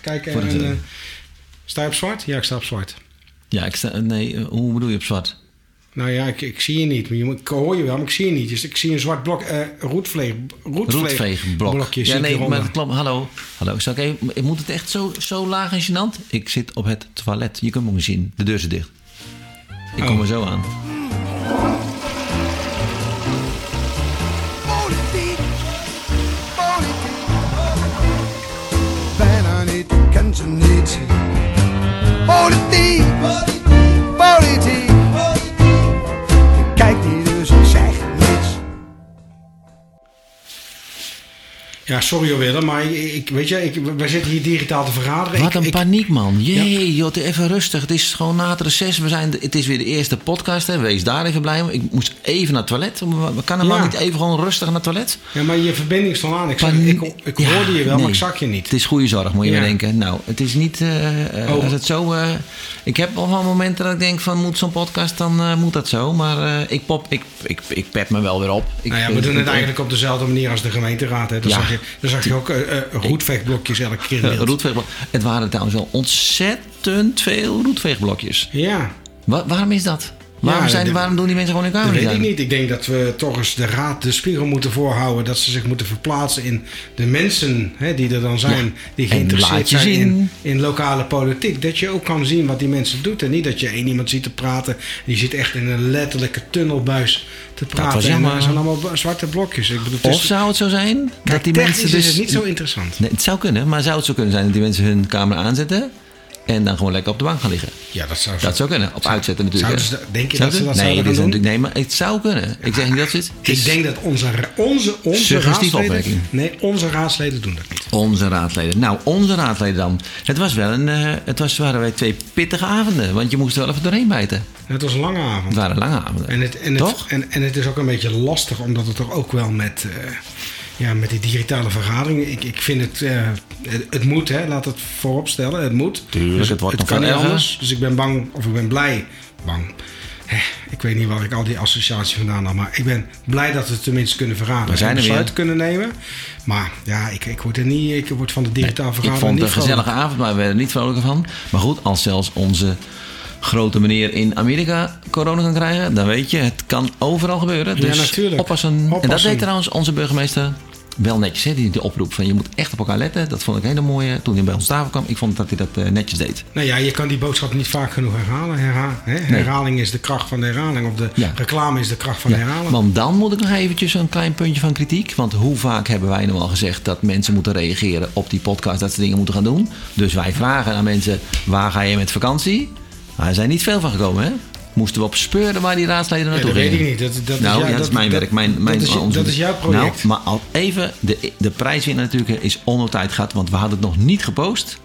kijken. Voor de en, tv. eh, sta je op zwart? Ja, ik sta op zwart. Ja, ik sta, nee, eh, hoe bedoel je op zwart? Nou ja, ik, ik zie je niet. Maar je moet- Ik hoor je wel, maar ik zie je niet. Dus ik zie een zwart blok, eh roetvleeg, roetvleeg, Roetveegblok. blokje. Ja, zie ik nee, hieronder. maar dat klopt. Hallo. Hallo. Zal ik even, ik moet het echt zo, zo laag en gênant? Ik zit op het toilet. Je kunt me niet zien. De deur zit dicht. Ik Oh. kom er zo aan. politiek, politiek. Bijna niet, ken ze niet. Politiek, politiek. Kijk die dus, zeg niets. Ja, sorry hoor Willem, maar ik, ik- weet je, ik, wij zitten hier digitaal te vergaderen. Wat Ik- een ik- paniek, man. Jee, joh, even rustig. Het is gewoon na het reces. We zijn, het is weer de eerste podcast. Hè. Wees daar even blij mee. Ik moest even naar het toilet. We kan er Ja. maar niet even gewoon rustig naar het toilet. Ja, maar je verbinding stond aan. Ik, zag- Panie- ik, ik Ja, hoorde je wel, maar nee. ik zag je niet. Het is goede zorg, moet je Ja. maar denken. Nou, het is niet. eh, eh, Oh. Als het zo. eh, ik heb nog wel momenten dat ik denk: van moet zo'n podcast, dan eh, moet dat zo. Maar eh, ik pop, ik, ik, ik pep me wel weer op. Ik, nou ja, we ik- doen ik- het eigenlijk op dezelfde manier als de gemeenteraad. Hè. Dan, Ja. zag je, dan zag je ook eh eh, roetvechtblokjes elke keer. in eh, beeld. roetveegblok- Het waren trouwens wel ontzettend veel roetveegblokjes. Ja, Wa- waarom is dat? Waarom, zijn, dat- waarom doen die mensen gewoon hun dat kamer weet niet ik aan? niet. Ik denk dat we toch eens de raad de spiegel moeten voorhouden. Dat ze zich moeten verplaatsen in de mensen hè, die er dan zijn. Die En laat geïnteresseerd je zijn in, zien. in lokale politiek. Dat je ook kan zien wat die mensen doet. En niet dat je één iemand ziet te praten. Die zit echt in een letterlijke tunnelbuis te praten. was en jammer. er zijn allemaal b- zwarte blokjes. Ik bedoel, het Of is- zou het zo zijn dat Kijk, die technisch mensen dus is het niet zo interessant. Nee, het zou kunnen, maar zou het zo kunnen zijn dat die mensen hun camera aanzetten en dan gewoon lekker op de bank gaan liggen? Ja, dat zou Dat zou kunnen. Op uitzetten natuurlijk. zouden hè. ze- denk je Zou dat ze kunnen? dat nee, zouden dit is gaan doen? natuurlijk, nee, maar het zou kunnen. Ik zeg niet dat ze het. het Ik is- denk dat onze, onze, onze Suggestieve raadsleden... opmerking. Nee, onze raadsleden doen dat niet. Onze raadleden. Nou, onze raadleden dan. Het was wel een. eh, het was, waren wij twee pittige avonden. Want je moest er wel even doorheen bijten. Het was een lange avond. Het waren lange avonden. En het, en, het, Toch? En, en het is ook een beetje lastig, omdat het toch ook wel met, eh, ja, met die digitale vergaderingen. Ik, ik vind het, eh, het, het moet, hè, laat het voorop stellen, het moet. Dus Tuurlijk, het wordt het nog kan wel niet erger. anders. Dus ik ben bang, of ik ben blij, bang. Hè, Ik weet niet waar ik al die associatie vandaan had, maar ik ben blij dat we het tenminste kunnen vergaderen. We zijn en er weer. besluiten kunnen nemen. Maar ja, ik, ik word er niet, ik word van de digitale Ik vergadering vond het een niet vrolijk. gezellige avond, maar we werden er niet vrolijker van. Maar goed, als zelfs onze grote meneer in Amerika corona kan krijgen, dan weet je, het kan overal gebeuren. Ja, Dus natuurlijk. Oppassen. En dat Oppassen. deed trouwens onze burgemeester wel netjes, hè? Die, de oproep van je moet echt op elkaar letten. Dat vond ik een hele mooie. Toen hij bij ons tafel kwam, ik vond dat hij dat eh, netjes deed. Nou ja, je kan die boodschap niet vaak genoeg herhalen. Herha- hè? Herhaling is de kracht van de herhaling. Of de Ja. reclame is de kracht van de herhaling. Want dan moet ik nog eventjes een klein puntje van kritiek. Want hoe vaak hebben wij nou al gezegd dat mensen moeten reageren op die podcast, dat ze dingen moeten gaan doen. Dus wij vragen aan mensen, waar ga je met vakantie? Nou, er zijn niet veel van gekomen, hè? Moesten we op speuren waar die raadsleden Ja, naartoe dat weet ik gingen. niet. Dat, dat nou, is, jou- ja, dat is mijn werk, mijn, mijn dat, is, onderzoek. dat is jouw project. Nou, maar al even, de, de prijswinnaar natuurlijk is onder tijd gehad, want we hadden het nog niet gepost.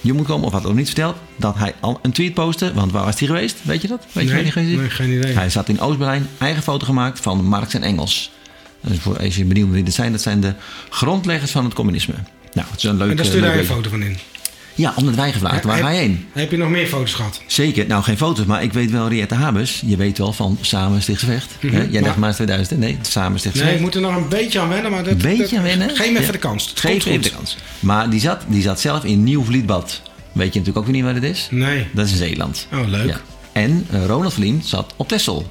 Je moet komen, of had ook niet verteld, dat hij al een tweet postte. Want waar was hij geweest? Weet je dat? Weet je Nee, waar hij geweest is? nee, geen idee. Hij zat in Oost-Berlijn, eigen foto gemaakt van Marx en Engels. Dus voor, als je benieuwd bent wie dat zijn, dat zijn de grondleggers van het communisme. Nou, het is een leuke... en daar stuur daar leuke- een foto van in. Ja, omdat wij gevraagd, waar heb, ga je heen? Heb je nog meer foto's gehad? Zeker. Nou, geen foto's, maar ik weet wel Riette Habers. Je weet wel van Samen Stichtse Vecht. hè? Jij dacht maar- maar 2000. Nee, Samen Stichtse Mhm. Nee, ik Vecht. moet er nog een beetje aan wennen. Maar dat, Een beetje dat- winnen. Geef me even Ja. de kans. Het Geef komt even goed. de kans. Maar die zat, die zat zelf in Nieuw Vlietbad. Weet je natuurlijk ook weer niet waar het is? Nee. Dat is in Zeeland. Oh, leuk. En eh, Ronald Vlien zat op Texel.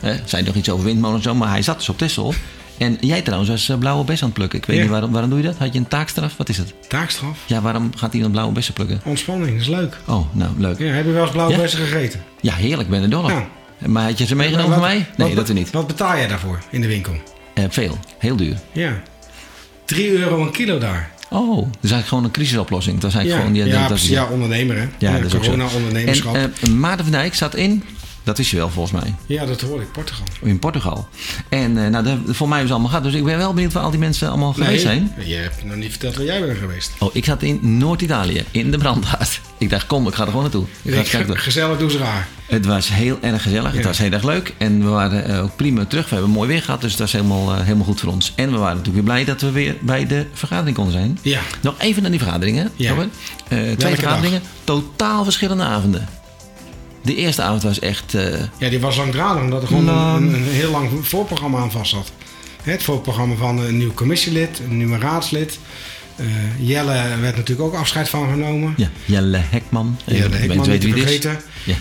Eh, zei nog iets over windmolens en zo, maar hij zat dus op Texel. En jij trouwens was eh, blauwe bessen aan het plukken. Ik weet Ja. niet waarom, waarom doe je dat? Had je een taakstraf? Wat is het? Taakstraf. Ja, waarom gaat iemand blauwe bessen plukken? Ontspanning, is leuk. Oh, nou leuk. Ja, heb je wel eens blauwe Ja? bessen gegeten? Ja, heerlijk, ben er dol op. Ja. Maar had je ze meegenomen Wat- van mij? Nee, wat- dat er niet. Wat betaal jij daarvoor in de winkel? Eh, veel, heel duur. Ja. 3 euro een kilo daar. Oh, dus eigenlijk gewoon een crisisoplossing. Dat is Ja, eigenlijk gewoon... ja, dat- dat- precies. ja, ondernemer hè. Ja, dat is ook zo. Corona-ondernemerschap. En eh, Maarten van Dijk zat in, dat is je wel volgens mij, Ja, dat hoor ik. Portugal. in Portugal. En eh, nou, dat, voor mij is het allemaal gehad. Dus ik ben wel benieuwd waar al die mensen allemaal geweest zijn. Je hebt nog niet verteld waar jij bent geweest. Oh, ik zat in Noord-Italië, in de brandhaard. Ik dacht, kom, ik ga er gewoon naartoe. Ik ga het Ge- kijken. Gezellig doe ze raar. Het was heel erg gezellig, het Ja. was heel erg leuk. En we waren eh, ook prima terug. We hebben mooi weer gehad, dus dat is helemaal, eh, helemaal goed voor ons. En we waren natuurlijk weer blij dat we weer bij de vergadering konden zijn. Ja. Nog even naar die vergaderingen. Ja. Robert. Eh, twee dag? vergaderingen, totaal verschillende avonden. De eerste avond was echt... eh, Ja, die was langdradig omdat er gewoon Lang. een, een heel lang voorprogramma aan vast zat. Hè, Het voorprogramma van een nieuw commissielid, een nieuw raadslid. Eh, Jelle werd natuurlijk ook afscheid van genomen. Ja, Jelle Hekman. Jelle Hekman, weet niet wie te het is. vergeten. Ja.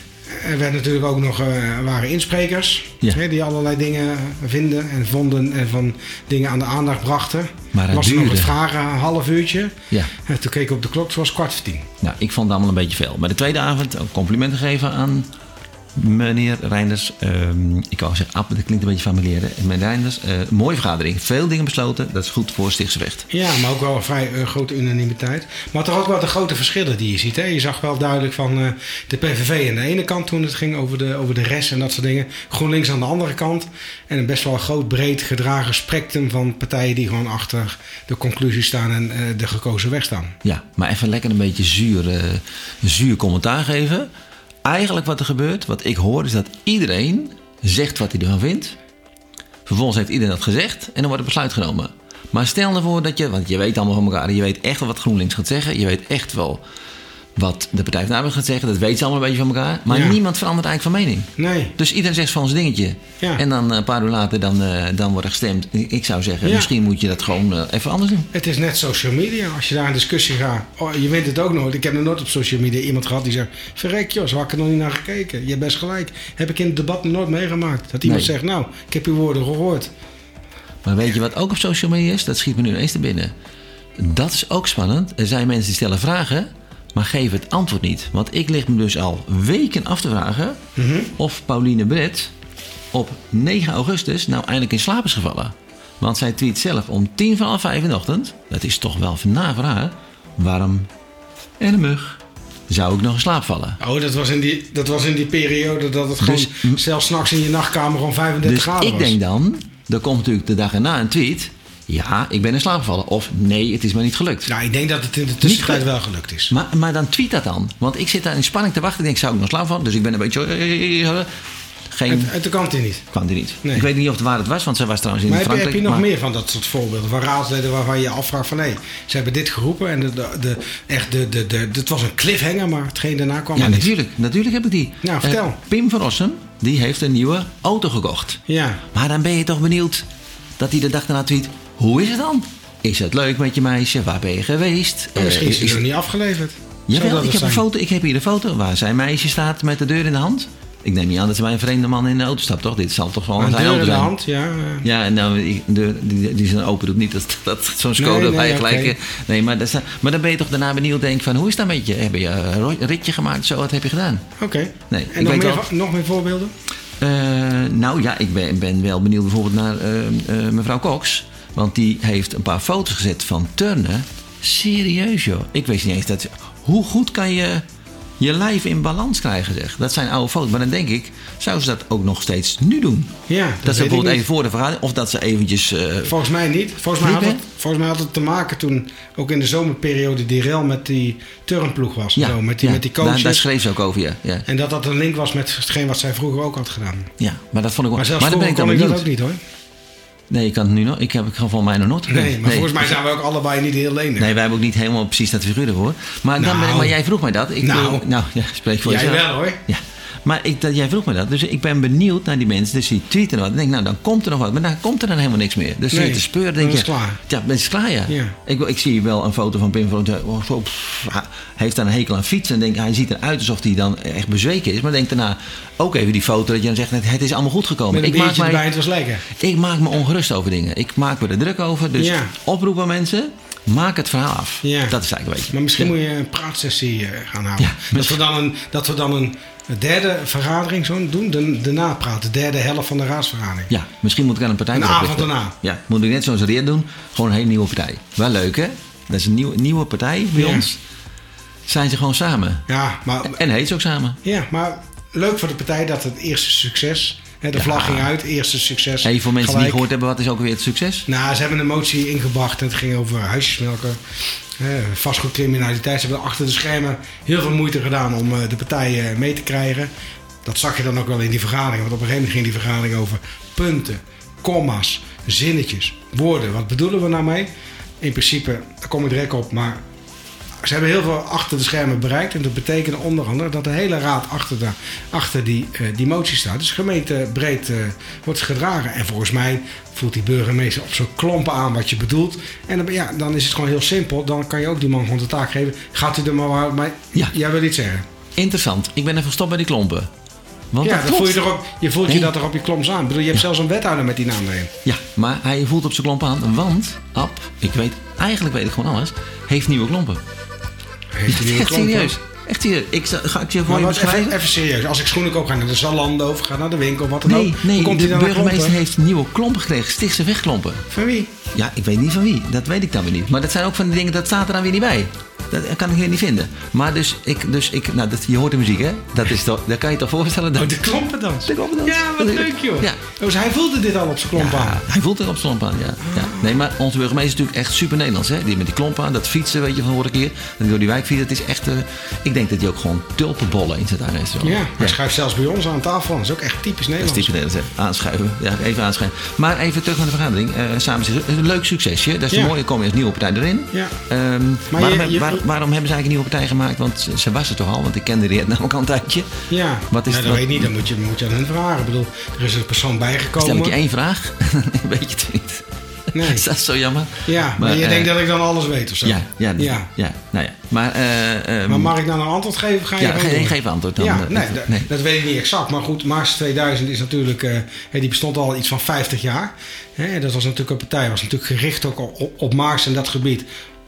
Er werd natuurlijk ook nog, eh, waren insprekers Ja. hè, die allerlei dingen vinden en vonden en van dingen aan de aandacht brachten. Maar het was er nog het duurde. vragen een half uurtje. Ja. En toen keek ik op de klok, het was kwart voor tien. Nou, ik vond het allemaal een beetje veel. Maar de tweede avond, ook complimenten geven aan meneer Reinders. Ehm, ik wou zeggen, Ab, dat klinkt een beetje familiair. hè? Meneer Reinders, eh, mooie vergadering. Veel dingen besloten. Dat is goed voor Stichtsrecht. Ja, maar ook wel een vrij eh, grote unanimiteit. Maar toch ook wel de grote verschillen die je ziet. Hè? Je zag wel duidelijk van eh, de PVV aan de ene kant toen het ging over de, over de rest en dat soort dingen. GroenLinks aan de andere kant. En een best wel groot, breed gedragen spectrum van partijen die gewoon achter de conclusie staan en eh, de gekozen weg staan. Ja, maar even lekker een beetje zuur, eh, zuur commentaar geven. Eigenlijk wat er gebeurt, wat ik hoor, is dat iedereen zegt wat hij ervan vindt. Vervolgens heeft iedereen dat gezegd en dan wordt het besluit genomen. Maar stel nou voor dat je, want je weet allemaal van elkaar, je weet echt wel wat GroenLinks gaat zeggen, je weet echt wel wat de Partij van de Arbeid gaat zeggen, dat weten ze allemaal een beetje van elkaar. Maar Ja. niemand verandert eigenlijk van mening. Nee. Dus iedereen zegt van zijn dingetje. Ja. En dan eh, een paar uur later dan, eh, dan wordt er gestemd. Ik zou zeggen, Ja. misschien moet je dat gewoon eh, even anders doen. Het is net social media. Als je daar een discussie gaat. Oh, je wint het ook nooit. Ik heb nog nooit op social media iemand gehad die zegt: Verrek joh, zo had ik er nog niet naar gekeken. Je hebt best gelijk. Heb ik in het debat nog nooit meegemaakt. Dat iemand Nee. zegt: Nou, ik heb uw woorden gehoord. Maar weet je wat ook op social media is? Dat schiet me nu ineens te binnen. Dat is ook spannend. Er zijn mensen die stellen vragen, maar geven het antwoord niet. Want ik lig me dus al weken af te vragen of Pauline Brett op 9 augustus nou eindelijk in slaap is gevallen. Want zij tweet zelf om 10 van half 5 in de ochtend, dat is toch wel na voor haar, warm en een mug. Zou ik nog in slaap vallen? Oh, dat was in die, dat was in die periode dat het gewoon zelfs s'nachts in je nachtkamer gewoon 35 Dus graden ik was. denk dan, er komt natuurlijk de dag erna een tweet. Ja, ik ben in slaap gevallen. Of nee, het is me niet gelukt. Nou, ik denk dat het in de tussentijd gelukt. wel gelukt is. Maar, maar dan tweet dat dan. Want ik zit daar in spanning te wachten. Ik denk, zou ik nog slaap van? Dus ik ben een beetje... Geen... Uit, uit de kant in niet. kwam er niet. Nee. Ik weet niet of het waar het was, want zij was trouwens in Maar heb, je- heb Frankrijk. je nog maar- meer van dat soort voorbeelden? Van raadsleden waarvan je je afvraagt van... hé, ze hebben dit geroepen en de, de, de- echt de, de, de, het was een cliffhanger... maar hetgeen daarna kwam Ja, er niet. natuurlijk. Natuurlijk heb ik die. Nou, vertel. Eh, Pim van Rossum, die heeft een nieuwe auto gekocht. Ja, Maar dan ben je toch benieuwd dat hij de dag daarna tweet... Hoe is het dan? Is het leuk met je meisje? Waar ben je geweest? En misschien Eh, is hij nog niet afgeleverd. Zou Jawel, dat ik het heb, een zijn? foto, ik heb hier een foto waar zijn meisje staat met de deur in de hand. Ik neem niet aan dat ze bij een vreemde man in de auto stapt, toch? Dit zal toch gewoon Een zijn deur auto in de zijn? hand, ja. eh, Ja, en nou, die deur die, die zijn open doet niet. Dat, dat zo'n Nee, Skoda nee, bij je oké. gelijk... eh, Nee, maar, dat, is- maar dan ben je toch daarna benieuwd denk van... Hoe is dat met je? Heb je een ro- ritje gemaakt? Zo, wat heb je gedaan? Oké. Nee, ik en nog weet meer, wel- va- nog meer voorbeelden? Eh, nou ja, ik ben, ben wel benieuwd bijvoorbeeld naar eh, eh, mevrouw Cox. Want die heeft een paar foto's gezet van turnen. Serieus joh. Ik wist niet eens dat... Hoe goed kan je je lijf in balans krijgen zeg. Dat zijn oude foto's. Maar dan denk ik, zou ze dat ook nog steeds nu doen? Ja, dat dat, weet ze ik bijvoorbeeld niet. even voor de vergadering... Of dat ze eventjes... eh, Volgens mij niet. Volgens mij, had Niet, het, volgens mij had het te maken toen, ook in de zomerperiode, die rel met die turnploeg was. en zo, met die, ja, met die daar- coaches. Daar, schreef ze ook over, ja. ja. En dat dat een link was met hetgeen wat zij vroeger ook had gedaan. ja maar dat vond ik wel... Maar zelfs dan ben vroeger ik kon dan ik dat benieuwd. ook niet hoor. Nee, ik kan het nu nog... Ik heb ik ga van mij nog nooit Nee, gedaan. maar volgens mij zijn we ook allebei niet heel lenig. Nee, wij hebben ook niet helemaal precies dat figuur ervoor. Maar, dan ben ik- Nou. maar jij vroeg mij dat. Ik Nou. wil- nou ja, spreek voor Jij jezelf. wel, hoor. Ja. Maar ik, dat, jij vroeg mij dat. Dus ik ben benieuwd naar die mensen. Dus die tweeten wat. Ik denk, nou, dan komt er nog wat. Maar dan komt er dan helemaal niks meer. Dus Nee, zit je te speuren. dan Denk is je, het klaar. Ja, ben is klaar, ja. Ja. Ik, wil- ik zie wel een foto van Pim van oh, zo, pff, hij heeft dan een hekel aan fietsen. En denk, hij ziet eruit alsof hij dan echt bezweken is. Maar denk daarna ook even die foto dat je dan zegt, het is allemaal goed gekomen. Met een ik maak biertje mij erbij, het was lekker. ik maak me ongerust over dingen. Ik maak me er druk over. Dus Ja. oproep aan mensen. Maak het verhaal af. Ja. Dat is eigenlijk een beetje. Maar misschien Ja. moet je een praatsessie eh, gaan houden. Ja, dat, we misschien. dan een, dat we dan een derde vergadering zo doen. De, de napraat, de derde helft van de raadsvergadering. Ja, misschien moet ik aan een partij Een gaan avond oprichten. daarna. Ja, moet ik net zoals Reer doen. Gewoon een hele nieuwe partij. Wel leuk hè? Dat is een nieuwe, nieuwe partij bij Ja. ons. Zijn ze gewoon samen. Ja, maar En heet ze ook samen. Ja, maar leuk voor de partij dat het eerste succes. Hè, de Ja. vlag ging uit, eerste succes. Hey, voor mensen die gelijk. niet gehoord hebben, wat is ook weer het succes? Nou, ze hebben een motie ingebracht en het ging over huisjesmelken. hè, vastgoedcriminaliteit. Ze hebben achter de schermen heel veel moeite gedaan om eh, de partijen mee te krijgen. Dat zag je dan ook wel in die vergadering. Want op een gegeven moment ging die vergadering over punten, comma's, zinnetjes, woorden. Wat bedoelen we nou mee? In principe, daar kom ik direct op, maar Ze hebben heel veel achter de schermen bereikt. En dat betekent onder andere dat de hele raad achter, de, achter die, eh, die motie staat. Dus gemeentebreed eh, wordt gedragen. En volgens mij voelt die burgemeester op zo'n klompen aan wat je bedoelt. En dan, ja, dan is het gewoon heel simpel. Dan kan je ook die man gewoon de taak geven. Gaat u er maar waar. Maar Ja. jij wil iets zeggen. Interessant. Ik ben even gestopt bij die klompen. Want ja, dat dan voel je, klopt. erop, je voelt je Nee. dat er op je klomp aan. Ik bedoel, je hebt zelfs een wethouder met die naam erin. Ja, maar hij voelt op zijn klompen aan. Want, Ab, ik weet, eigenlijk weet ik gewoon alles, heeft nieuwe klompen. Heeft hij nu een Echt klomp aan? serieus. Echt serieus. Ik zal- ga ik je voor Maar je wat, even, beschrijven. even serieus, als ik schoenen koop, ga ik naar de Zalando of ga naar de winkel of wat dan Nee, ook. Hoe nee, komt de hij dan aan burgemeester klompen? heeft nieuwe klompen gekregen. Stichtse wegklompen. Van wie? Ja, ik weet niet van wie. Dat weet ik dan weer niet. Maar dat zijn ook van die dingen, dat staat er dan weer niet bij. Dat kan ik weer niet vinden. Maar dus, ik, dus ik, nou, dat, je hoort de muziek, hè? Dat, is toch, dat kan je toch voorstellen? Dat, Oh, de klompendans. De klompendans. Ja, wat leuk joh. Ja. Dus hij voelde dit al op zijn klomp aan. Ja, hij voelt er op zijn klomp aan, ja. ja. Nee, maar onze burgemeester is natuurlijk echt super Nederlands, hè? Die met die klomp aan, dat fietsen, weet je, van de vorige keer. Dat die door die wijk fietsen, dat is echt... eh, ik denk dat hij ook gewoon tulpenbollen in zit aan restaurant. Ja, hij schuift zelfs bij ons aan tafel aan. Dat is ook echt typisch Dat Nederlands. is typisch Nederlands, hè. eh, Aanschuiven. Ja, even aanschuiven. Maar even terug naar de vergadering. Eh, samen zitten. Het is Een leuk succesje. Dat is Ja. mooi. mooie. Kom je als nieuwe partij erin. Ja. Ehm, Maar waarom, je- heb- je- waar- waarom hebben ze eigenlijk een nieuwe partij gemaakt? Want ze- ze was er toch al. Want ik kende die namelijk al een tijdje. Ja, Wat is ja, dat wat- weet ik niet. Dan moet je, moet je aan hun vragen. Ik bedoel, er is een persoon bijgekomen. Stel ik je één vraag. weet je het niet. Nee. Is dat zo jammer? Ja, maar, je eh, denkt dat ik dan alles weet of zo. Ja, ja, ja. ja. nou ja. Maar, eh, ehm, Maar mag ik nou een antwoord geven? Ga je Ja, gewoon ge- doen? geef antwoord dan. Ja, Dat- nee, dat, nee. dat weet ik niet exact. Maar goed, Mars 2000 is natuurlijk, eh, hè, die bestond al iets van 50 jaar. Hè, dat was natuurlijk een partij, was natuurlijk gericht ook op, op, op Maars en dat gebied.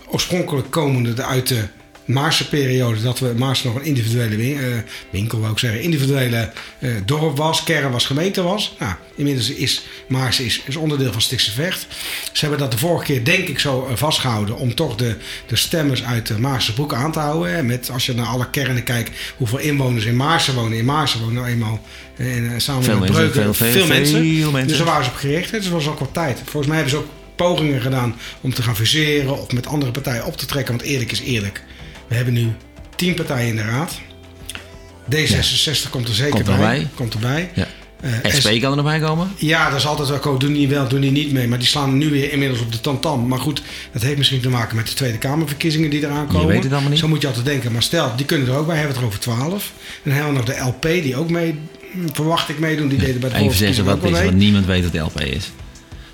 Oorspronkelijk komende uit de Maarse periode, dat we Maars nog een individuele win- eh, winkel, wou ik zeggen, individuele eh, dorp was, kern was, gemeente was. Nou, inmiddels is Maars is, is onderdeel van Stichtse Vecht. Ze hebben dat de vorige keer denk ik zo eh, vastgehouden om toch de, de stemmers uit de Maarse broek aan te houden. Hè. Met, als je naar alle kernen kijkt, hoeveel inwoners in Maarsen wonen. In Maarsen wonen nou eenmaal eh, en, eh, samen Veel met mensen, Breuken veel, veel, veel mensen. Dus daar waren ze op gericht. hè. Dus dat was ook wat tijd. Volgens mij hebben ze ook pogingen gedaan om te gaan fuseren of met andere partijen op te trekken. Want eerlijk is eerlijk. We hebben nu tien partijen in de raad. D66 komt er zeker Komt bij. erbij. Komt erbij. ja. Eh, SP kan er nog bij komen. ja, dat is altijd wel koop. Doen die wel, doen die niet mee. Maar die slaan nu weer inmiddels op de tantam. Maar goed, dat heeft misschien te maken met de Tweede Kamerverkiezingen die eraan komen. weet het allemaal niet. Zo moet je altijd denken. Maar stel, die kunnen er ook bij. Hebben we het er over 12. Dan hebben we nog de LP die ook mee, hm, verwacht ik, meedoen. Die deden bij de Even zeggen voorverkiezingen wat ook het wel is, mee. want niemand weet wat de LP is.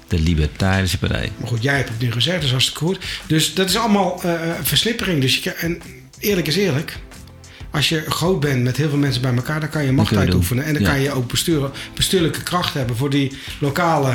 De Libertarische Partij. Maar goed, jij hebt het nu gezegd, dus hartstikke goed. Dus dat is allemaal eh, versnippering. Dus je, kan- en eerlijk is eerlijk. Als je groot bent met heel veel mensen bij elkaar, dan kan je macht kun je doen. uitoefenen. En dan Ja. kan je ook besturen, bestuurlijke kracht hebben voor die lokale.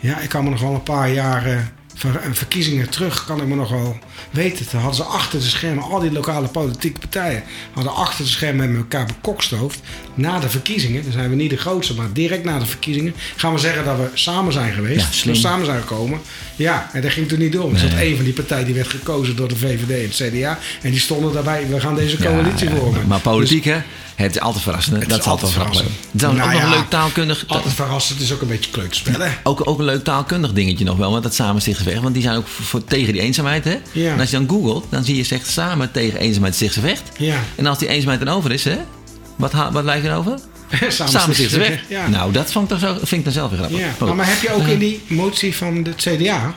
Ja, ik kan me nog wel een paar jaren ver- eh, verkiezingen terug, kan ik me nog wel weten. Toen hadden ze achter de schermen, al die lokale politieke partijen, hadden achter de schermen met elkaar bekokstoofd. Na de verkiezingen, dan zijn we niet de grootste, maar direct na de verkiezingen, gaan we zeggen dat we samen zijn geweest. Ja, slim. We samen zijn gekomen. Ja, en dat ging toen niet door. Want er zat één van die partijen die werd gekozen door de VVD en het CDA. En die stonden daarbij, we gaan deze coalitie Ja, ja, vormen. Dus Maar politiek, hè? Het is altijd verrassend. hè? Het dat is is altijd altijd verrassend. verrassend. Dan Nou ook nog ja, een leuk taalkundig. Dus altijd verrassend, het is ook een beetje kleuterspel, hè? Ook, ook een leuk taalkundig dingetje nog wel, want dat samen stichtse vecht. Want die zijn ook voor, voor- tegen die eenzaamheid, hè? Ja. En als je dan googelt, dan zie je zegt samen tegen eenzaamheid stichtse vecht. Ja. En als die eenzaamheid dan over is, hè? Wat, ha- wat lijkt er over? Samen, Samen stichtse stichtse weg. vecht. Ja. Nou, dat vond ik dan, zo, vind ik dan zelf weer grappig. Oh. ja. Nou, goed. Maar, maar heb je Eh. ook in die motie van het CDA,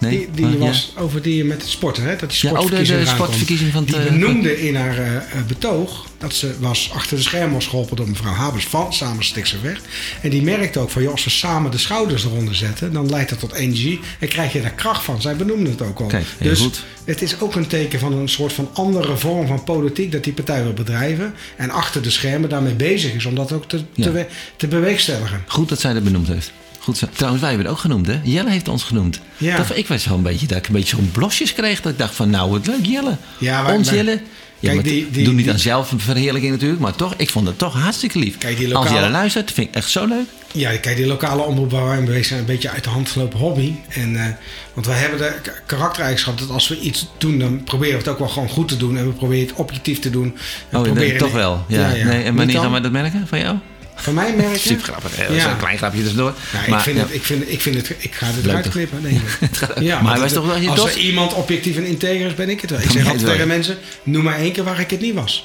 Nee, die, die maar- ja. was over die met het sporten, hè? Dat die Ja, oh, de- de sportverkiezing eraan kwam. sportverkiezing van het, Die eh, benoemde in haar eh, eh, betoog dat ze was achter de schermen was geholpen door mevrouw Habers van Samen Stikse Weg. En die merkte ook van, joh, als ze samen de schouders eronder zetten, dan leidt dat tot energie en krijg je daar kracht van. Zij benoemde het ook al. Kijk, heel dus goed. het is ook een teken van een soort van andere vorm van politiek dat die partij wil bedrijven en achter de schermen daarmee bezig is om dat ook te, Ja. te, we- te bewerkstelligen. Goed dat zij dat benoemd heeft. Goed zo. Trouwens, wij hebben het ook genoemd, hè? Jelle heeft ons genoemd. Ja. Dat, ik was zo'n beetje dat ik een beetje zo'n blosjes kreeg. Dat ik dacht van, nou, wat leuk, Jelle. Ja, wij- ons wij- Jelle. Ja, Kijk, maar die- die- doe niet die- aan zelfverheerlijking natuurlijk, maar toch, ik vond het toch hartstikke lief. Kijk, die lokale- Als Jelle luistert, vind ik echt zo leuk. Ja, kijk, die lokale omroep waar wij mee bezig zijn, een beetje uit de hand gelopen hobby. En, eh, want wij hebben de k- karaktereigenschap dat als we iets doen, dan proberen we het ook wel gewoon goed te doen. En we proberen het objectief te doen. We Oh, dat proberen- toch wel. Ja. Nee, en Niet wanneer dan? gaan wij dat merken van jou? Van mij merk je? Super grappig. hè? Dat is Ja. een klein grapje tussendoor. Nou, ik, vind ja. het, ik, vind, ik vind het, ik ga dit Leuk eruit toch? knippen. Nee, nee. Maar hij want was het- toch wel- je Als er toch? iemand objectief en integer is, ben ik het wel. Ik zeg jij altijd het wel. tegen mensen, noem maar één keer waar ik het niet was.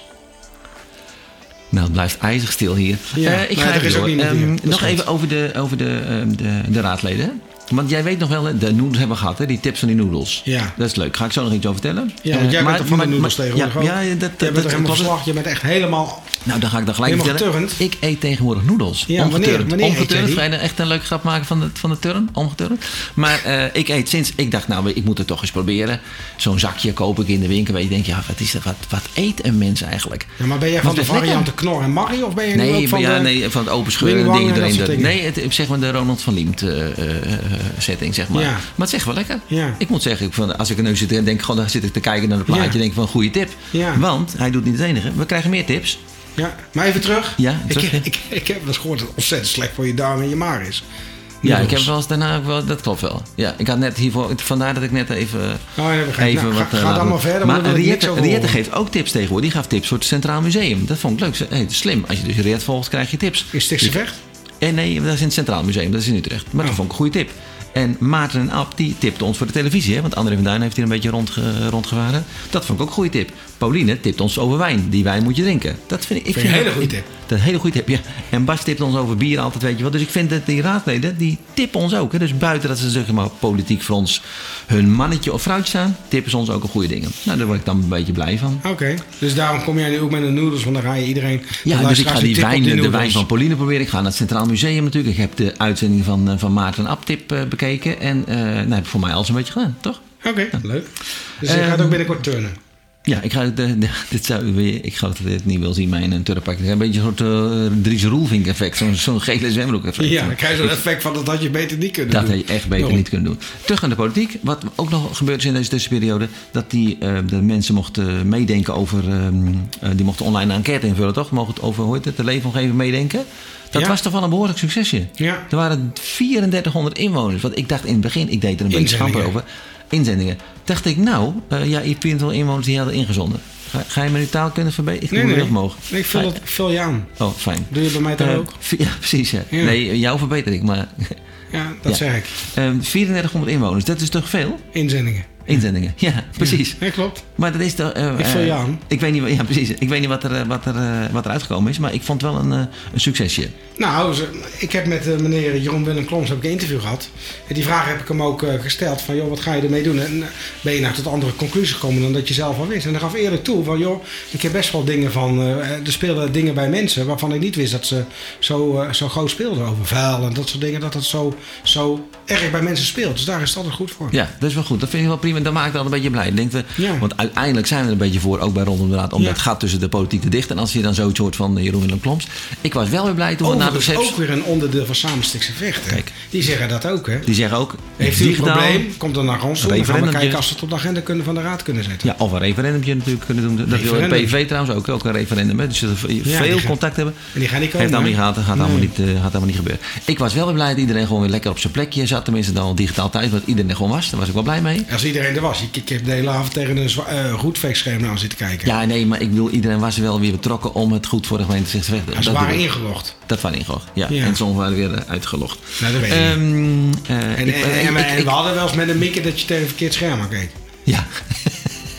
Nou, het blijft ijzig stil hier. Ja, Eh, ik maar ga er even is ook door. niemand Ehm, hier. Dat is nog goed. even over de, over de, ehm, de, de raadleden. Want jij weet nog wel, hè, de noedels hebben we gehad, hè? die tips van die noedels. Ja. Dat is leuk. Ga ik zo nog iets over vertellen? Ja, Eh, want jij maar- bent er van maar- de noedels maar- tegenwoordig ja, ook. Ja, dat, Jij dat, bent dat er helemaal klopt. verslag. Je bent echt helemaal... Nou, dan ga ik dan gelijk Helemaal vertellen. geturnd. Ik eet tegenwoordig noedels. Ja, wanneer- Omgeturnd. wanneer eet jij Omgeturnd. die? Ga je dan echt een leuke grap maken van de, van de term? Omgeturnd. Maar eh, ik eet sinds... Ik dacht, nou, ik moet het toch eens proberen. Zo'n zakje koop ik in de winkel. Weet je, denk je, ja, wat is dat? Wat, wat eet een mens eigenlijk? Ja, maar ben jij van Want de het is lekker. variante Knor en Marrie? Of ben je nu Nee, ook van van ja, de... nee, van het open scheuren Wing Wang dingen en dat erin. soort de- dingen. nee, het, ik zeg maar de Ronald van Liemt eh, eh, eh, setting, zeg maar. Ja. Maar het is echt wel lekker. Ja. Ik moet zeggen, ik van, als ik er nu zit en denk, god, dan zit ik te kijken naar het plaatje. Ja. denk ik van, goede tip. Ja. Want, hij doet niet het enige. We krijgen meer tips. Ja, maar even terug. Ja, ik, terug, ja. Ik, ik heb wel eens gehoord dat het ontzettend slecht voor je darmen en je maag is. Ja, ik Noedels. heb wel eens daarna ook wel, dat klopt wel. Ja, ik had net hiervoor, vandaar dat ik net even. Oh, ja, begrijp ik. Nou, ga- eh, ga dan laat maar doen. verder, want Maar dan wil ik niks Riette, over Riette horen. geeft ook tips tegenwoordig. Die gaf tips voor het Centraal Museum. Dat vond ik leuk. Ze- Hey, het is slim. Als je dus Riet volgt, krijg je tips. Is Stichtse Vecht? En Eh, nee, dat is in het Centraal Museum, dat is in Utrecht. Maar Oh. dat vond ik een goede tip. En Maarten en Ab, die tipte ons voor de televisie. Hè? Want André van Duin heeft hier een beetje rondge, rondgevaren. Dat vond ik ook een goede tip. Pauline tipt ons over wijn. Die wijn moet je drinken. Dat vind ik, ik Vind je een hele goede tip. Dat is een hele goede tip, ja. En Bas tipt ons over bier altijd, weet je wel. Dus ik vind dat die raadleden, die tippen ons ook. Hè? Dus buiten dat ze zeg maar politiek voor ons hun mannetje of vrouwtje staan... tippen ze ons ook een goede dingen. Nou, daar word ik dan een beetje blij van. Oké, dus daarom kom jij nu ook met de noedels, want dan ga je iedereen... Ja, dan dus ik luisteraars ga die tip op wijn, de noedels. wijn van Pauline proberen. Ik ga naar het Centraal Museum natuurlijk. Ik heb de uitzending van, eh, van Maarten Abtip eh, bekeken. En eh nou, heb ik voor mij alles een beetje gedaan, toch? Oké, leuk. Dus je Ehm, gaat ook binnenkort turnen. Ja, ik ga, de, de- dit zou, weer- ik geloof dat je dit niet wil zien, mijn eh, turfpak. Het is Een beetje een soort eh Dries Roelvink effect. Zo'n zo'n gele zwembroek effect. Ja, dan krijg je zo'n effect van dat had je beter niet kunnen Dat doen. had je echt beter Waarom? niet kunnen doen. Terug aan de politiek. Wat ook nog gebeurd is in deze tussenperiode. Dat die, eh, de mensen mochten eh, meedenken over. ehm, eh, die mochten online een enquête invullen, toch? Mogen het over, hoe heet het, de leefomgeving meedenken. Dat Ja. was toch wel een behoorlijk succesje. Ja. Er waren 3400 inwoners. Want ik dacht in het begin, ik deed er een beetje schamper over. Inzendingen. Inzendingen. Dacht ik, nou, eh ja, 24 inwoners die hadden ingezonden. Ga, ga je mijn taal kunnen verbeteren? Ik Nee, moet nee. heel mogen. Nee, ik vul, dat, ik vul je aan. Oh, fijn. Doe je bij mij daar Eh, ook? vi- Ja, precies. Ja. Ja. Nee, jou verbeter ik, maar Ja, dat ja. zeg ik. Ehm, 3400 inwoners, dat is toch veel? Inzendingen. Inzendingen, ja, precies. Ja, klopt. Maar dat is toch... eh, Ik vul je eh, aan. Ik weet niet, wa- ja, precies. Ik weet niet wat er, eh, wat er, eh, wat er uitgekomen is, maar ik vond het wel een, eh, een succesje. Nou, ze- ik heb met eh, meneer Jeroen Willem Kloms heb ik een interview gehad. En die vraag heb ik hem ook eh, gesteld van, joh, wat ga je ermee doen? En eh, ben je nou tot andere conclusies gekomen dan dat je zelf al wist? En dan gaf eerlijk toe van, joh, ik heb best wel dingen van, eh, er speelden dingen bij mensen waarvan ik niet wist dat ze zo, eh, zo groot speelden over vuil en dat soort dingen. Dat dat zo, zo erg bij mensen speelt. Dus daar is het altijd goed voor. Ja, dat is wel goed. Dat vind ik wel prima. Dat maakt ik wel een beetje blij. Ik Denk we, Ja. Want uiteindelijk zijn we er een beetje voor, ook bij Rondom de Raad, om Ja. dat gat tussen de politiek te dichten. En als je dan zoiets hoort van eh, Jeroen Willem Kloms. Ik was wel weer blij toen we naar de Overigens receptie... Oh, ook weer een onderdeel van Samenstikse Vechten. Kijk. Die zeggen dat ook, hè? Die Nou, zeggen ook, Heeft u een digitaal- probleem, komt dan naar ons toe. Dan gaan we Referendum, kijken ja. als we het op de agenda kunnen van de raad kunnen zetten. Ja, of een referendumje natuurlijk kunnen doen. Dat wil de Referendum. PV trouwens ook, ook een referendum. Hè. Dus dat we die veel gaan- contact hebben. en die gaan niet komen, Heeft allemaal niet hè? gehad, gaat, allemaal niet, eh, gaat allemaal niet gebeuren. Ik was wel weer blij dat iedereen gewoon weer lekker op zijn plekje zat. Tenminste dan digitaal thuis, want iedereen er gewoon was. Daar was ik wel blij mee. Als iedereen er was. Ik, ik heb de hele avond tegen een zwa- eh, roetveegscherm aan zitten kijken. Ja, nee, maar ik bedoel, iedereen was wel weer betrokken om het goed voor de gemeente zich te vechten. Ja, ze Dat waren bedoel ik. ingelogd. Dat waren ingelogd, ja. Ja. En sommigen waren weer eh, uitgelogd. Nou, dat weet ik niet. Ehm, eh, En, ik- en- en- ik- en ik- we hadden wel eens met een mikken dat je tegen een verkeerd scherm aan keek. Ja,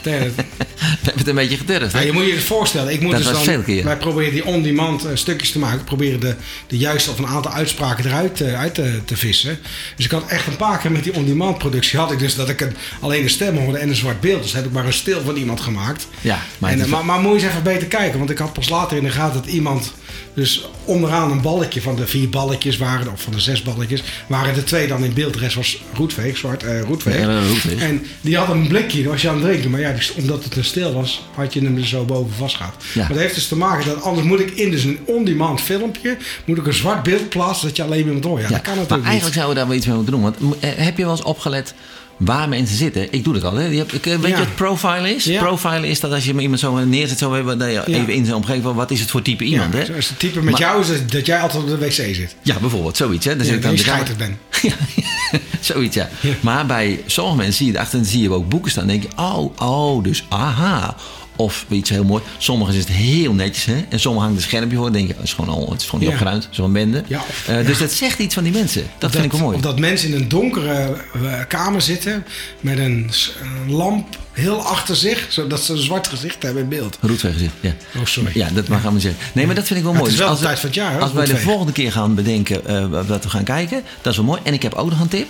Tegen- we hebben het een beetje gedurfd. hè. Nou, je moet je het voorstellen. Ik moet Dat dus was dan, veel keer. Wij proberen die on-demand eh, stukjes te maken. We proberen de, de juiste of een aantal uitspraken eruit eh, uit te, te vissen. Dus ik had echt een paar keer met die on-demand productie. Had ik dus dat ik een, alleen een stem hoorde en een zwart beeld. Dus heb ik maar een stil van iemand gemaakt. Ja, maar maar, en, het eh, is- maar, maar moet je eens even beter kijken. Want ik had pas later in de gaten dat iemand. Dus onderaan een balkje van de vier balkjes waren, of van de zes balkjes, waren er twee dan in beeld. De rest was roetveeg, zwart eh roetveeg. Ja, dat was roetveeg. En die had een blikje, daar was je aan het drinken. Maar ja, die- omdat het een stil was, had je hem er zo boven vastgehaald. Ja. Maar dat heeft dus te maken dat anders moet ik in dus een on-demand filmpje, moet ik een zwart beeld plaatsen dat je alleen iemand hoort. Ja, Ja, dat kan maar natuurlijk eigenlijk niet. zouden we daar wel iets mee moeten doen. Want m- eh, heb je wel eens opgelet waar mensen zitten? Ik doe dat al. Hè? Je hebt, ik, eh, weet Ja. je wat profile is? Ja, Profile is dat als je iemand zo neerzet, zo even, dat je even in zijn omgeving, van, wat is het voor type iemand? ja, hè? Zoals het type met Maar- jou is dat, dat jij altijd op de wc zit. Ja, bijvoorbeeld, zoiets. Hè? Dan zit Ja, ik aan dat de je kamer. scheiterd bent. Ja, zoiets ja. Maar bij sommige mensen zie je erachter en zie je ook boeken staan. Dan denk je, oh, oh, dus aha. Of iets heel mooi. Sommigen is het heel netjes, hè? En sommigen hangt een schermpje voor. Dan denk je, het is gewoon, al, het is gewoon niet Ja. opgeruimd. Zo'n bende. Ja. Eh, Dus dat zegt iets van die mensen. Dat, vind ik wel mooi. Of dat mensen in een donkere eh, kamer zitten met een s- een lamp heel achter zich, zodat ze een zwart gezicht hebben in beeld. Roetveeggezicht, ja. Oh, sorry. Ja, dat mag allemaal zeggen. Nee, maar dat vind ik wel Maar mooi. het is wel Dus de als tijd van het jaar, hè, Als wij de roetveeg. volgende keer gaan bedenken eh, wat we gaan kijken, dat is wel mooi. En ik heb ook nog een tip.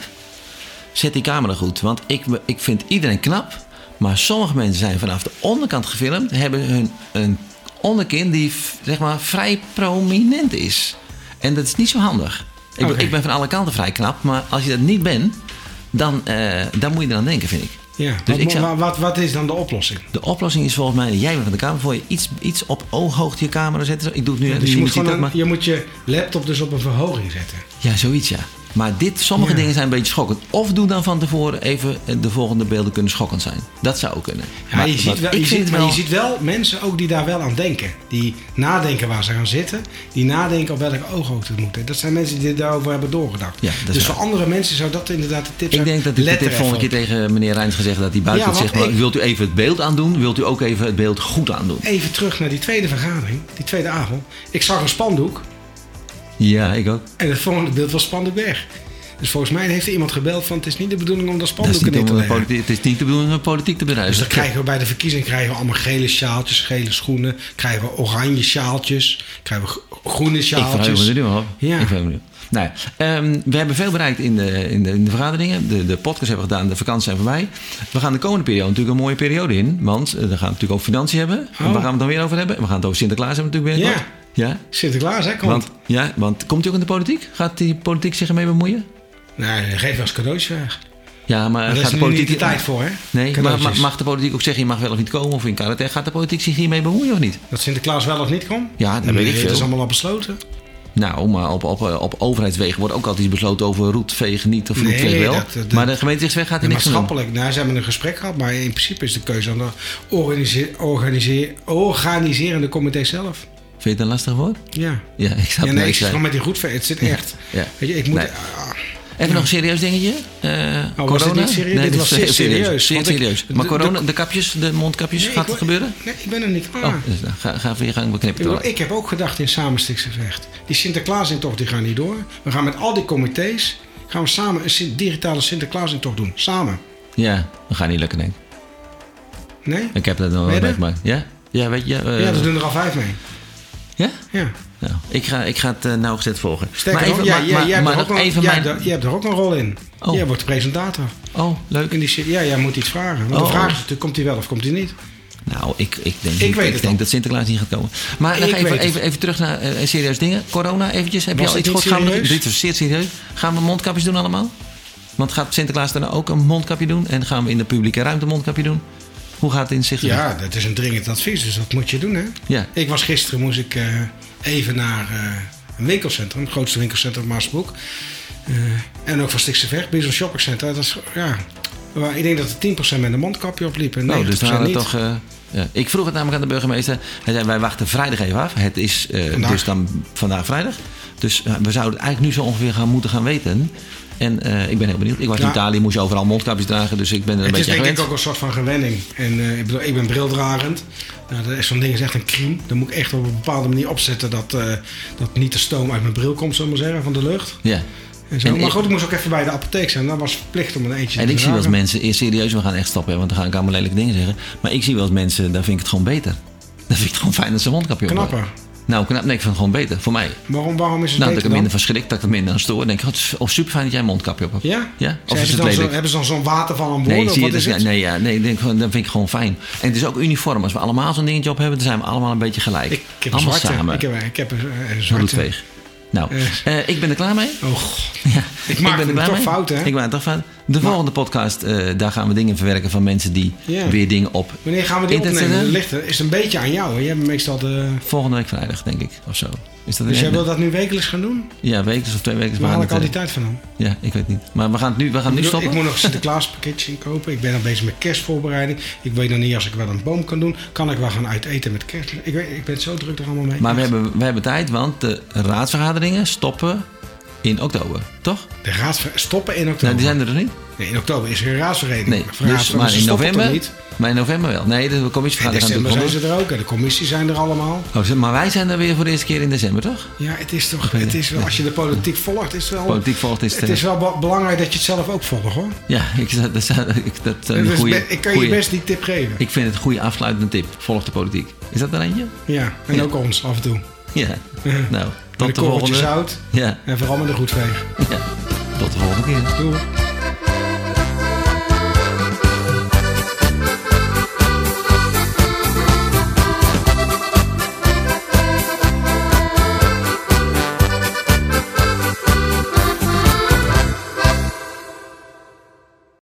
zet die camera goed. Want ik, ik vind iedereen knap. Maar sommige mensen zijn vanaf de onderkant gefilmd. Hebben hun een onderkin die v- zeg maar vrij prominent is. En dat is niet zo handig. Ik, bedoel, Oké. ik ben van alle kanten vrij knap. Maar als je dat niet bent, dan eh, daar moet je eraan denken, vind ik. Ja, Dus wat, ik zou- wat, wat, wat is dan de oplossing? De oplossing is volgens mij, jij bent van de camera, voor je iets, iets op ooghoogte je camera zetten. Ik doe het nu, hè, Dus je moet, ziet gewoon dat, een- maar... je moet je laptop dus op een verhoging zetten. Ja, zoiets ja. Maar dit, sommige Ja. dingen zijn een beetje schokkend. Of doe dan van tevoren even eh, de volgende beelden kunnen schokkend zijn. Dat zou ook kunnen. Ja, je wat ziet wel, ik je vind ziet, maar je ziet wel mensen ook die daar wel aan denken. Die nadenken waar ze gaan zitten. Die nadenken op welke ooghoogte het moet. En Dat zijn mensen die daarover hebben doorgedacht. Ja, dat is dus waar. voor andere mensen zou dat inderdaad de tip zijn. Ik denk dat ik Let dit er volgende keer even op. tegen meneer Rijns gezegd dat hij buiten Ja, het want zegt, maar ik- wilt u even het beeld aandoen? Wilt u ook even het beeld goed aandoen? Even terug naar die tweede vergadering. Die tweede avond. Ik zag een spandoek. Ja, ik ook. En het volgende beeld was spandoek weg. Dus volgens mij heeft er iemand gebeld van het is niet de bedoeling om dat Dat is spandoek niet neer om te een leggen. politi- het is niet de bedoeling om een politiek te bedrijven. Dus dan krijgen we bij de verkiezing krijgen we allemaal gele sjaaltjes, gele schoenen. Krijgen we oranje sjaaltjes. Krijgen we gro- groene Ik verheug me sjaaltjes. er nu wel op. Ja. Ik verheug me nu. Nou, ja, ehm, we hebben veel bereikt in de, in de, in de vergaderingen. De, de podcast hebben we gedaan, de vakanties zijn voorbij. We gaan de komende periode natuurlijk een mooie periode in. Want eh, dan gaan we natuurlijk ook financiën hebben. Oh. En waar gaan we het dan weer over hebben? We gaan het over Sinterklaas hebben natuurlijk binnenkort. Ja. Sinterklaas, hè? Komt. Want, ja, want komt hij ook in de politiek? Gaat die politiek zich ermee bemoeien? Nou, geef wel eens cadeautje weg. Ja, maar Daar gaat is de nu politiek... niet de tijd voor, hè? Nee, maar Cadeautjes. ma- mag de politiek ook zeggen, je mag wel of niet komen of in karate? Gaat de politiek zich hiermee bemoeien of niet? Dat Sinterklaas wel of niet komt? Ja, dat weet ik Dat is veel. allemaal al besloten. Nou, maar op, op, op overheidswegen wordt ook altijd iets besloten over roetveeg niet of Nee, roetveeg wel. dat- dat- maar de gemeenterechtsweg gaat er niks aan doen. maatschappelijk, nou, ze hebben een gesprek gehad, maar in principe is de keuze aan de organise- organise- organiserende comité zelf. Vind je het een lastig woord? Ja. Ja, ik snap Ja, nee, het wel. ik Ik zit zei- gewoon met die goed. Het zit echt. ja. Weet je, ik moet. Nee. ah, Even nog een serieus dingetje. Eh was corona? dit niet serieus? Nee, Dit was zeer serieus, Zeer want ik- serieus. de- Maar de- corona, de, kapjes, de mondkapjes, nee, ik gaat het wil- gebeuren? Nee, ik ben er niet klaar. Oh, dus, nou, ga, ga even je gang, we knippen Ik, het bedoel, wel. ik heb ook gedacht in samenstiksgevecht. Die Sinterklaasintocht die gaan niet door. We gaan met al die comité's gaan we samen een sin- digitale Sinterklaasintocht doen. Samen. Ja, we gaan niet lukken, denk ik. Nee? Ik heb dat nog Weet wel je? meegemaakt. Ja? Ja, weet je? eh, Ja, er doen er al vijf mee. ja? Ja. Nou, ik ga, ik ga het eh, nauwgezet volgen. Sterker maar even, nog, ja, maar, jij- maar- jij hebt maar er ook nog een- even jij mijn... hebt er- jij hebt er ook een rol in. Oh. Jij wordt presentator. Oh, leuk. In die, zin- ja, jij moet iets vragen. Want Oh. de vraag is natuurlijk, komt hij wel of komt hij niet? Nou, ik, ik denk, Ik weet het denk al. dat Sinterklaas niet gaat komen. Maar dan Ik ga even, weet het. even, even terug naar eh, serieus dingen. Corona eventjes. Heb Was je al het iets niet gehoord? Gaan we, serieus? dit is zeer serieus. Gaan we mondkapjes doen allemaal? Want gaat Sinterklaas daarna ook een mondkapje doen? En gaan we in de publieke ruimte een mondkapje doen? Hoe gaat het in zich? Nou, Ja, dat is een dringend advies, dus dat moet je doen, hè? Ja. Ik was gisteren, moest ik eh, even naar eh, een winkelcentrum, het grootste winkelcentrum van Maasbroek. Eh, en ook van Stikse Vecht, bij zo'n shoppingcenter. Dat is, ja, waar ik denk dat er 10% met een mondkapje opliep en 90% Nou, dus daar hadden niet. we toch... eh, ja. Ik vroeg het namelijk aan de burgemeester. Hij zei, wij wachten vrijdag even af. Het is eh, Vandaag. dus dan vandaag vrijdag. Dus eh, we zouden het eigenlijk nu zo ongeveer gaan moeten gaan weten. En eh, ik ben heel benieuwd. Ik was in Ja. Italië, moest je overal mondkapjes dragen. Dus ik ben er een Het is beetje aan denk gewend. ik ook een soort van gewenning. En eh, ik bedoel, ik ben brildragend. Nou, dat is- zo'n ding is echt een crime. Dan moet ik echt op een bepaalde manier opzetten dat, eh, dat niet de stoom uit mijn bril komt, zullen we maar zeggen, van de lucht. Ja. En zo. En maar ik- goed, ik moest ook even bij de apotheek zijn. Dat was verplicht om een eentje En te ik zie wel eens dragen. mensen, eh, serieus, we gaan echt stappen, want dan ga ik allemaal lelijke dingen zeggen. Maar ik zie wel eens mensen, daar vind ik het gewoon beter. Dan vind ik het gewoon fijn dat ze een mondkapje op hebben. Knapper. Nou, knap, nee, ik vind het gewoon beter. Voor mij. Waarom, waarom is het nou, dat ik beter er dan? minder van schrik, dat ik er minder aan stoor. Dan denk ik, god, oh, super fijn dat jij een mondkapje op hebt. Ja? ja? Ze Of hebben, is ze het dan zo, lelijk? hebben ze dan zo'n waterval aan boord? Nee, of zie wat je, dat, is ja, het? nee, ja, nee ik denk, gewoon, dat vind ik gewoon fijn. En het is ook uniform. Als we allemaal zo'n dingetje op hebben, dan zijn we allemaal een beetje gelijk. Ik heb een allemaal zwarte. samen. Ik heb, ik heb een, eh, een Een zwarte. roetveeg. Nou, Eh. eh, ik ben er klaar mee. Oh, god. Ja, Ik maak hem blij toch mee. fout, hè? Ik maak hem toch fout. De volgende podcast, eh, daar gaan we dingen verwerken van mensen die Ja. weer dingen op. Wanneer gaan we die Internet opnemen? Dat zetten? ligt er. Is een beetje aan jou. Hè? Jij bent meestal de... Volgende week vrijdag, denk ik, of zo. Is dat Dus een- jij wil dat nu wekelijks gaan doen? Ja, wekelijks of twee weken. Waar haal ik al die tijd van aan? eh, Ja, ik weet niet. Maar we gaan het nu, we gaan het nu Ik bedoel, stoppen. Ik moet nog Sinterklaaspakketjes inkopen. Ik ben nog bezig met kerstvoorbereiding. Ik weet nog niet als ik wel een boom kan doen. Kan ik wel gaan uiteten met kerst? Ik, weet, ik ben zo druk er allemaal mee. Maar we hebben, we hebben tijd, want de raadsvergaderingen stoppen in oktober, toch? De raadsver... stoppen in oktober. Nou, die zijn er nog niet. Nee, in oktober is er een raadsvereniging. Nee, dus, Raadsver- maar ze in stoppen toch november. niet? Maar in november wel. Nee, de In commissievergadering gaan december zijn natuurlijk ze er ook. En de commissies zijn er allemaal. gewoon door. Oh, maar wij zijn er weer voor de eerste keer in december, toch? Ja, het is toch, het is wel, als je de politiek volgt, is het wel, Politiek volgt is het, Oh. het eh, is wel be- belangrijk dat je het zelf ook volgt hoor. Ja, ik, dat, dat, ik, dat, een Dus goeie- be- ik kan je goeie- best die tip geven. Ik vind het een goede afsluitende tip. Volg de politiek. Is dat er eentje? ja, en Ja. ook ons af en toe. Ja. Nou, Met tot de een korreltje volgende. zout Ja, en vooral met een goed veeg. ja. Tot de volgende keer. Doei.